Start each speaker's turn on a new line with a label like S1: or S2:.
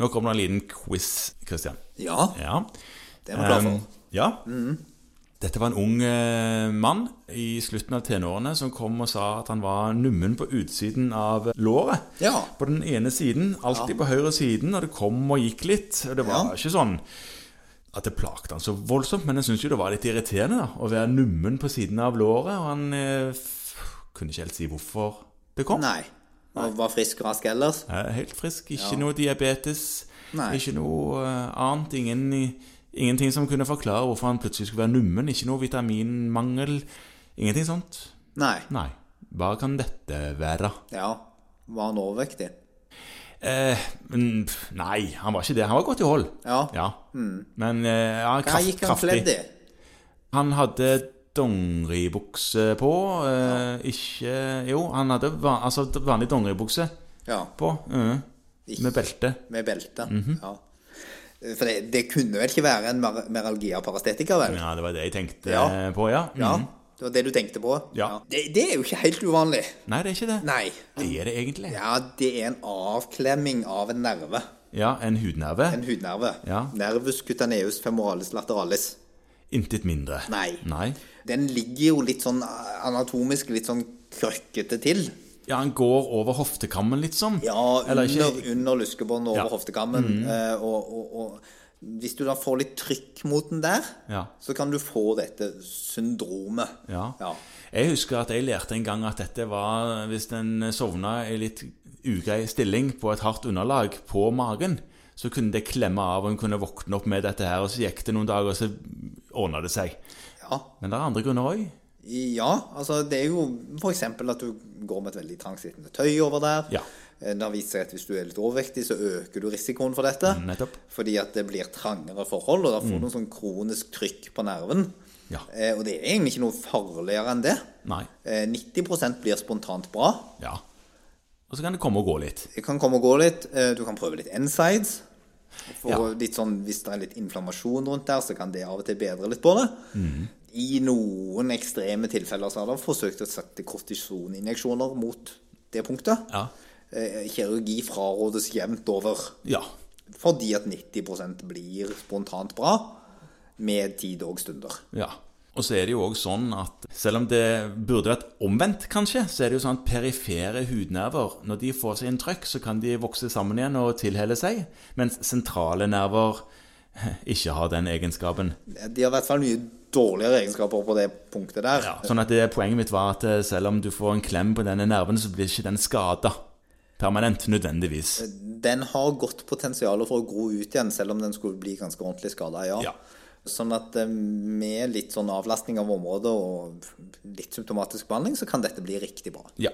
S1: Nå kommer det en liten quiz, Christian.
S2: Ja,
S1: Ja.
S2: det er vi glad
S1: Um,
S2: for. Mm.
S1: ja. Dette var en ung eh, mann i slutten av tenårene som kom og sa at han var nummen på utsiden av låret.
S2: Ja.
S1: På den ene siden, alltid på høyre siden, og det kom og gikk litt. Og det var
S2: Ja.
S1: ikke sånn at det plagte han så voldsomt, men jeg syntes jo det var litt irriterende da, å være nummen på siden av låret, og han eh, f- kunne ikke helt si hvorfor det kom.
S2: Nei. Og var frisk og rask ellers.
S1: Eh, Helt frisk, ikke noe diabetes,
S2: Nei.
S1: ikke noe eh, annet, ingen, ingenting som kunne forklare hvorfor han plutselig skulle være nummen, ikke noe vitaminmangel, ingenting sånt.
S2: Nei.
S1: Nei, hva kan dette være?
S2: Ja. Var han overvektig?
S1: Eh, men, pff, nei, han var ikke det, han var godt i hold.
S2: Ja.
S1: Ja, men eh, ja,
S2: Hva
S1: kraft,
S2: gikk han
S1: kraftig.
S2: kledd i?
S1: Han hadde dongeribukse på, eh, ikke, jo, han hadde van, altså, vanlig dongeribukse
S2: Ja.
S1: på, mhm, med belte.
S2: Med belte.
S1: Mhm.
S2: Ja. For det, det kunne vel ikke være en mer meralgia parastetiker, vel?
S1: Ja, det var det jeg tenkte
S2: Ja.
S1: eh, på, ja. Mhm.
S2: Ja, det var det du tenkte på?
S1: Ja.
S2: Det, det er jo ikke helt uvanlig.
S1: Nei, det er ikke det.
S2: Nei.
S1: Er det egentlig? Ja,
S2: Ja, det er en avklemming av en nerve.
S1: en hudnerve.
S2: En hudnerve.
S1: Ja.
S2: Nervus cutaneus femoralis lateralis.
S1: Intet mindre.
S2: Nei. Den ligger jo litt sånn anatomisk litt sånn krøkkete til.
S1: Ja, han går over hoftekammen, liksom.
S2: Ja,
S1: Eller
S2: under,
S1: ikke
S2: under luskebåndet over
S1: Ja. Mm.
S2: hoftekammen. eh, og, og, og hvis du da får litt trykk mot den der,
S1: Ja.
S2: så kan du få dette syndromet.
S1: ja.
S2: Ja.
S1: Jeg husker at jeg lærte en gang at dette var hvis en sovna i litt ugrei stilling på et hardt underlag på magen, så kunne det klemme av, og hun kunne våkne opp med dette her, og så gikk det noen dager, og så ordna det seg.
S2: ja.
S1: Men det er andre grunner òg.
S2: Ja, altså det er jo f.eks. at du går med et veldig trangsittende tøy over der.
S1: Ja.
S2: Eh, Det har vist seg at hvis du er litt overvektig, så øker du risikoen for dette.
S1: Mm, Nettopp. Mm.
S2: Fordi at det blir trangere forhold, og da får du en sånn kronisk trykk på nerven.
S1: Ja.
S2: Eh, Og det er egentlig ikke noe farligere enn det.
S1: Nei.
S2: Eh, 90 blir spontant bra.
S1: Ja. Og så kan det komme og gå litt.
S2: Det kan komme og gå litt. Eh, Du kan prøve litt N-sides. For
S1: Ja.
S2: litt sånn, Hvis det er litt inflammasjon rundt der, så kan det av og til bedre litt på det. I noen ekstreme tilfeller så har de forsøkt å sette kortisoninjeksjoner mot det punktet.
S1: Ja.
S2: Eh, Kirurgi frarådes jevnt over
S1: Ja.
S2: fordi at 90 blir spontant bra med tid og stunder.
S1: Ja. Og så er det jo òg sånn at selv om det burde vært omvendt, kanskje, så er det jo sånn at perifere hudnerver, når de får seg en trøkk, så kan de vokse sammen igjen og tilhelle seg, mens sentrale nerver ikke har den egenskapen.
S2: De har i hvert fall mye dårligere egenskaper på det punktet der. Eh,
S1: Sånn at det, poenget mitt var at eh, selv om du får en klem på denne nerven, så blir ikke den skada permanent, nødvendigvis.
S2: Den har godt potensial for å gro ut igjen, selv om den skulle bli ganske ordentlig skada, ja.
S1: Ja.
S2: Sånn at eh, med litt sånn avlastning av området og litt symptomatisk behandling, så kan dette bli riktig bra.
S1: Ja.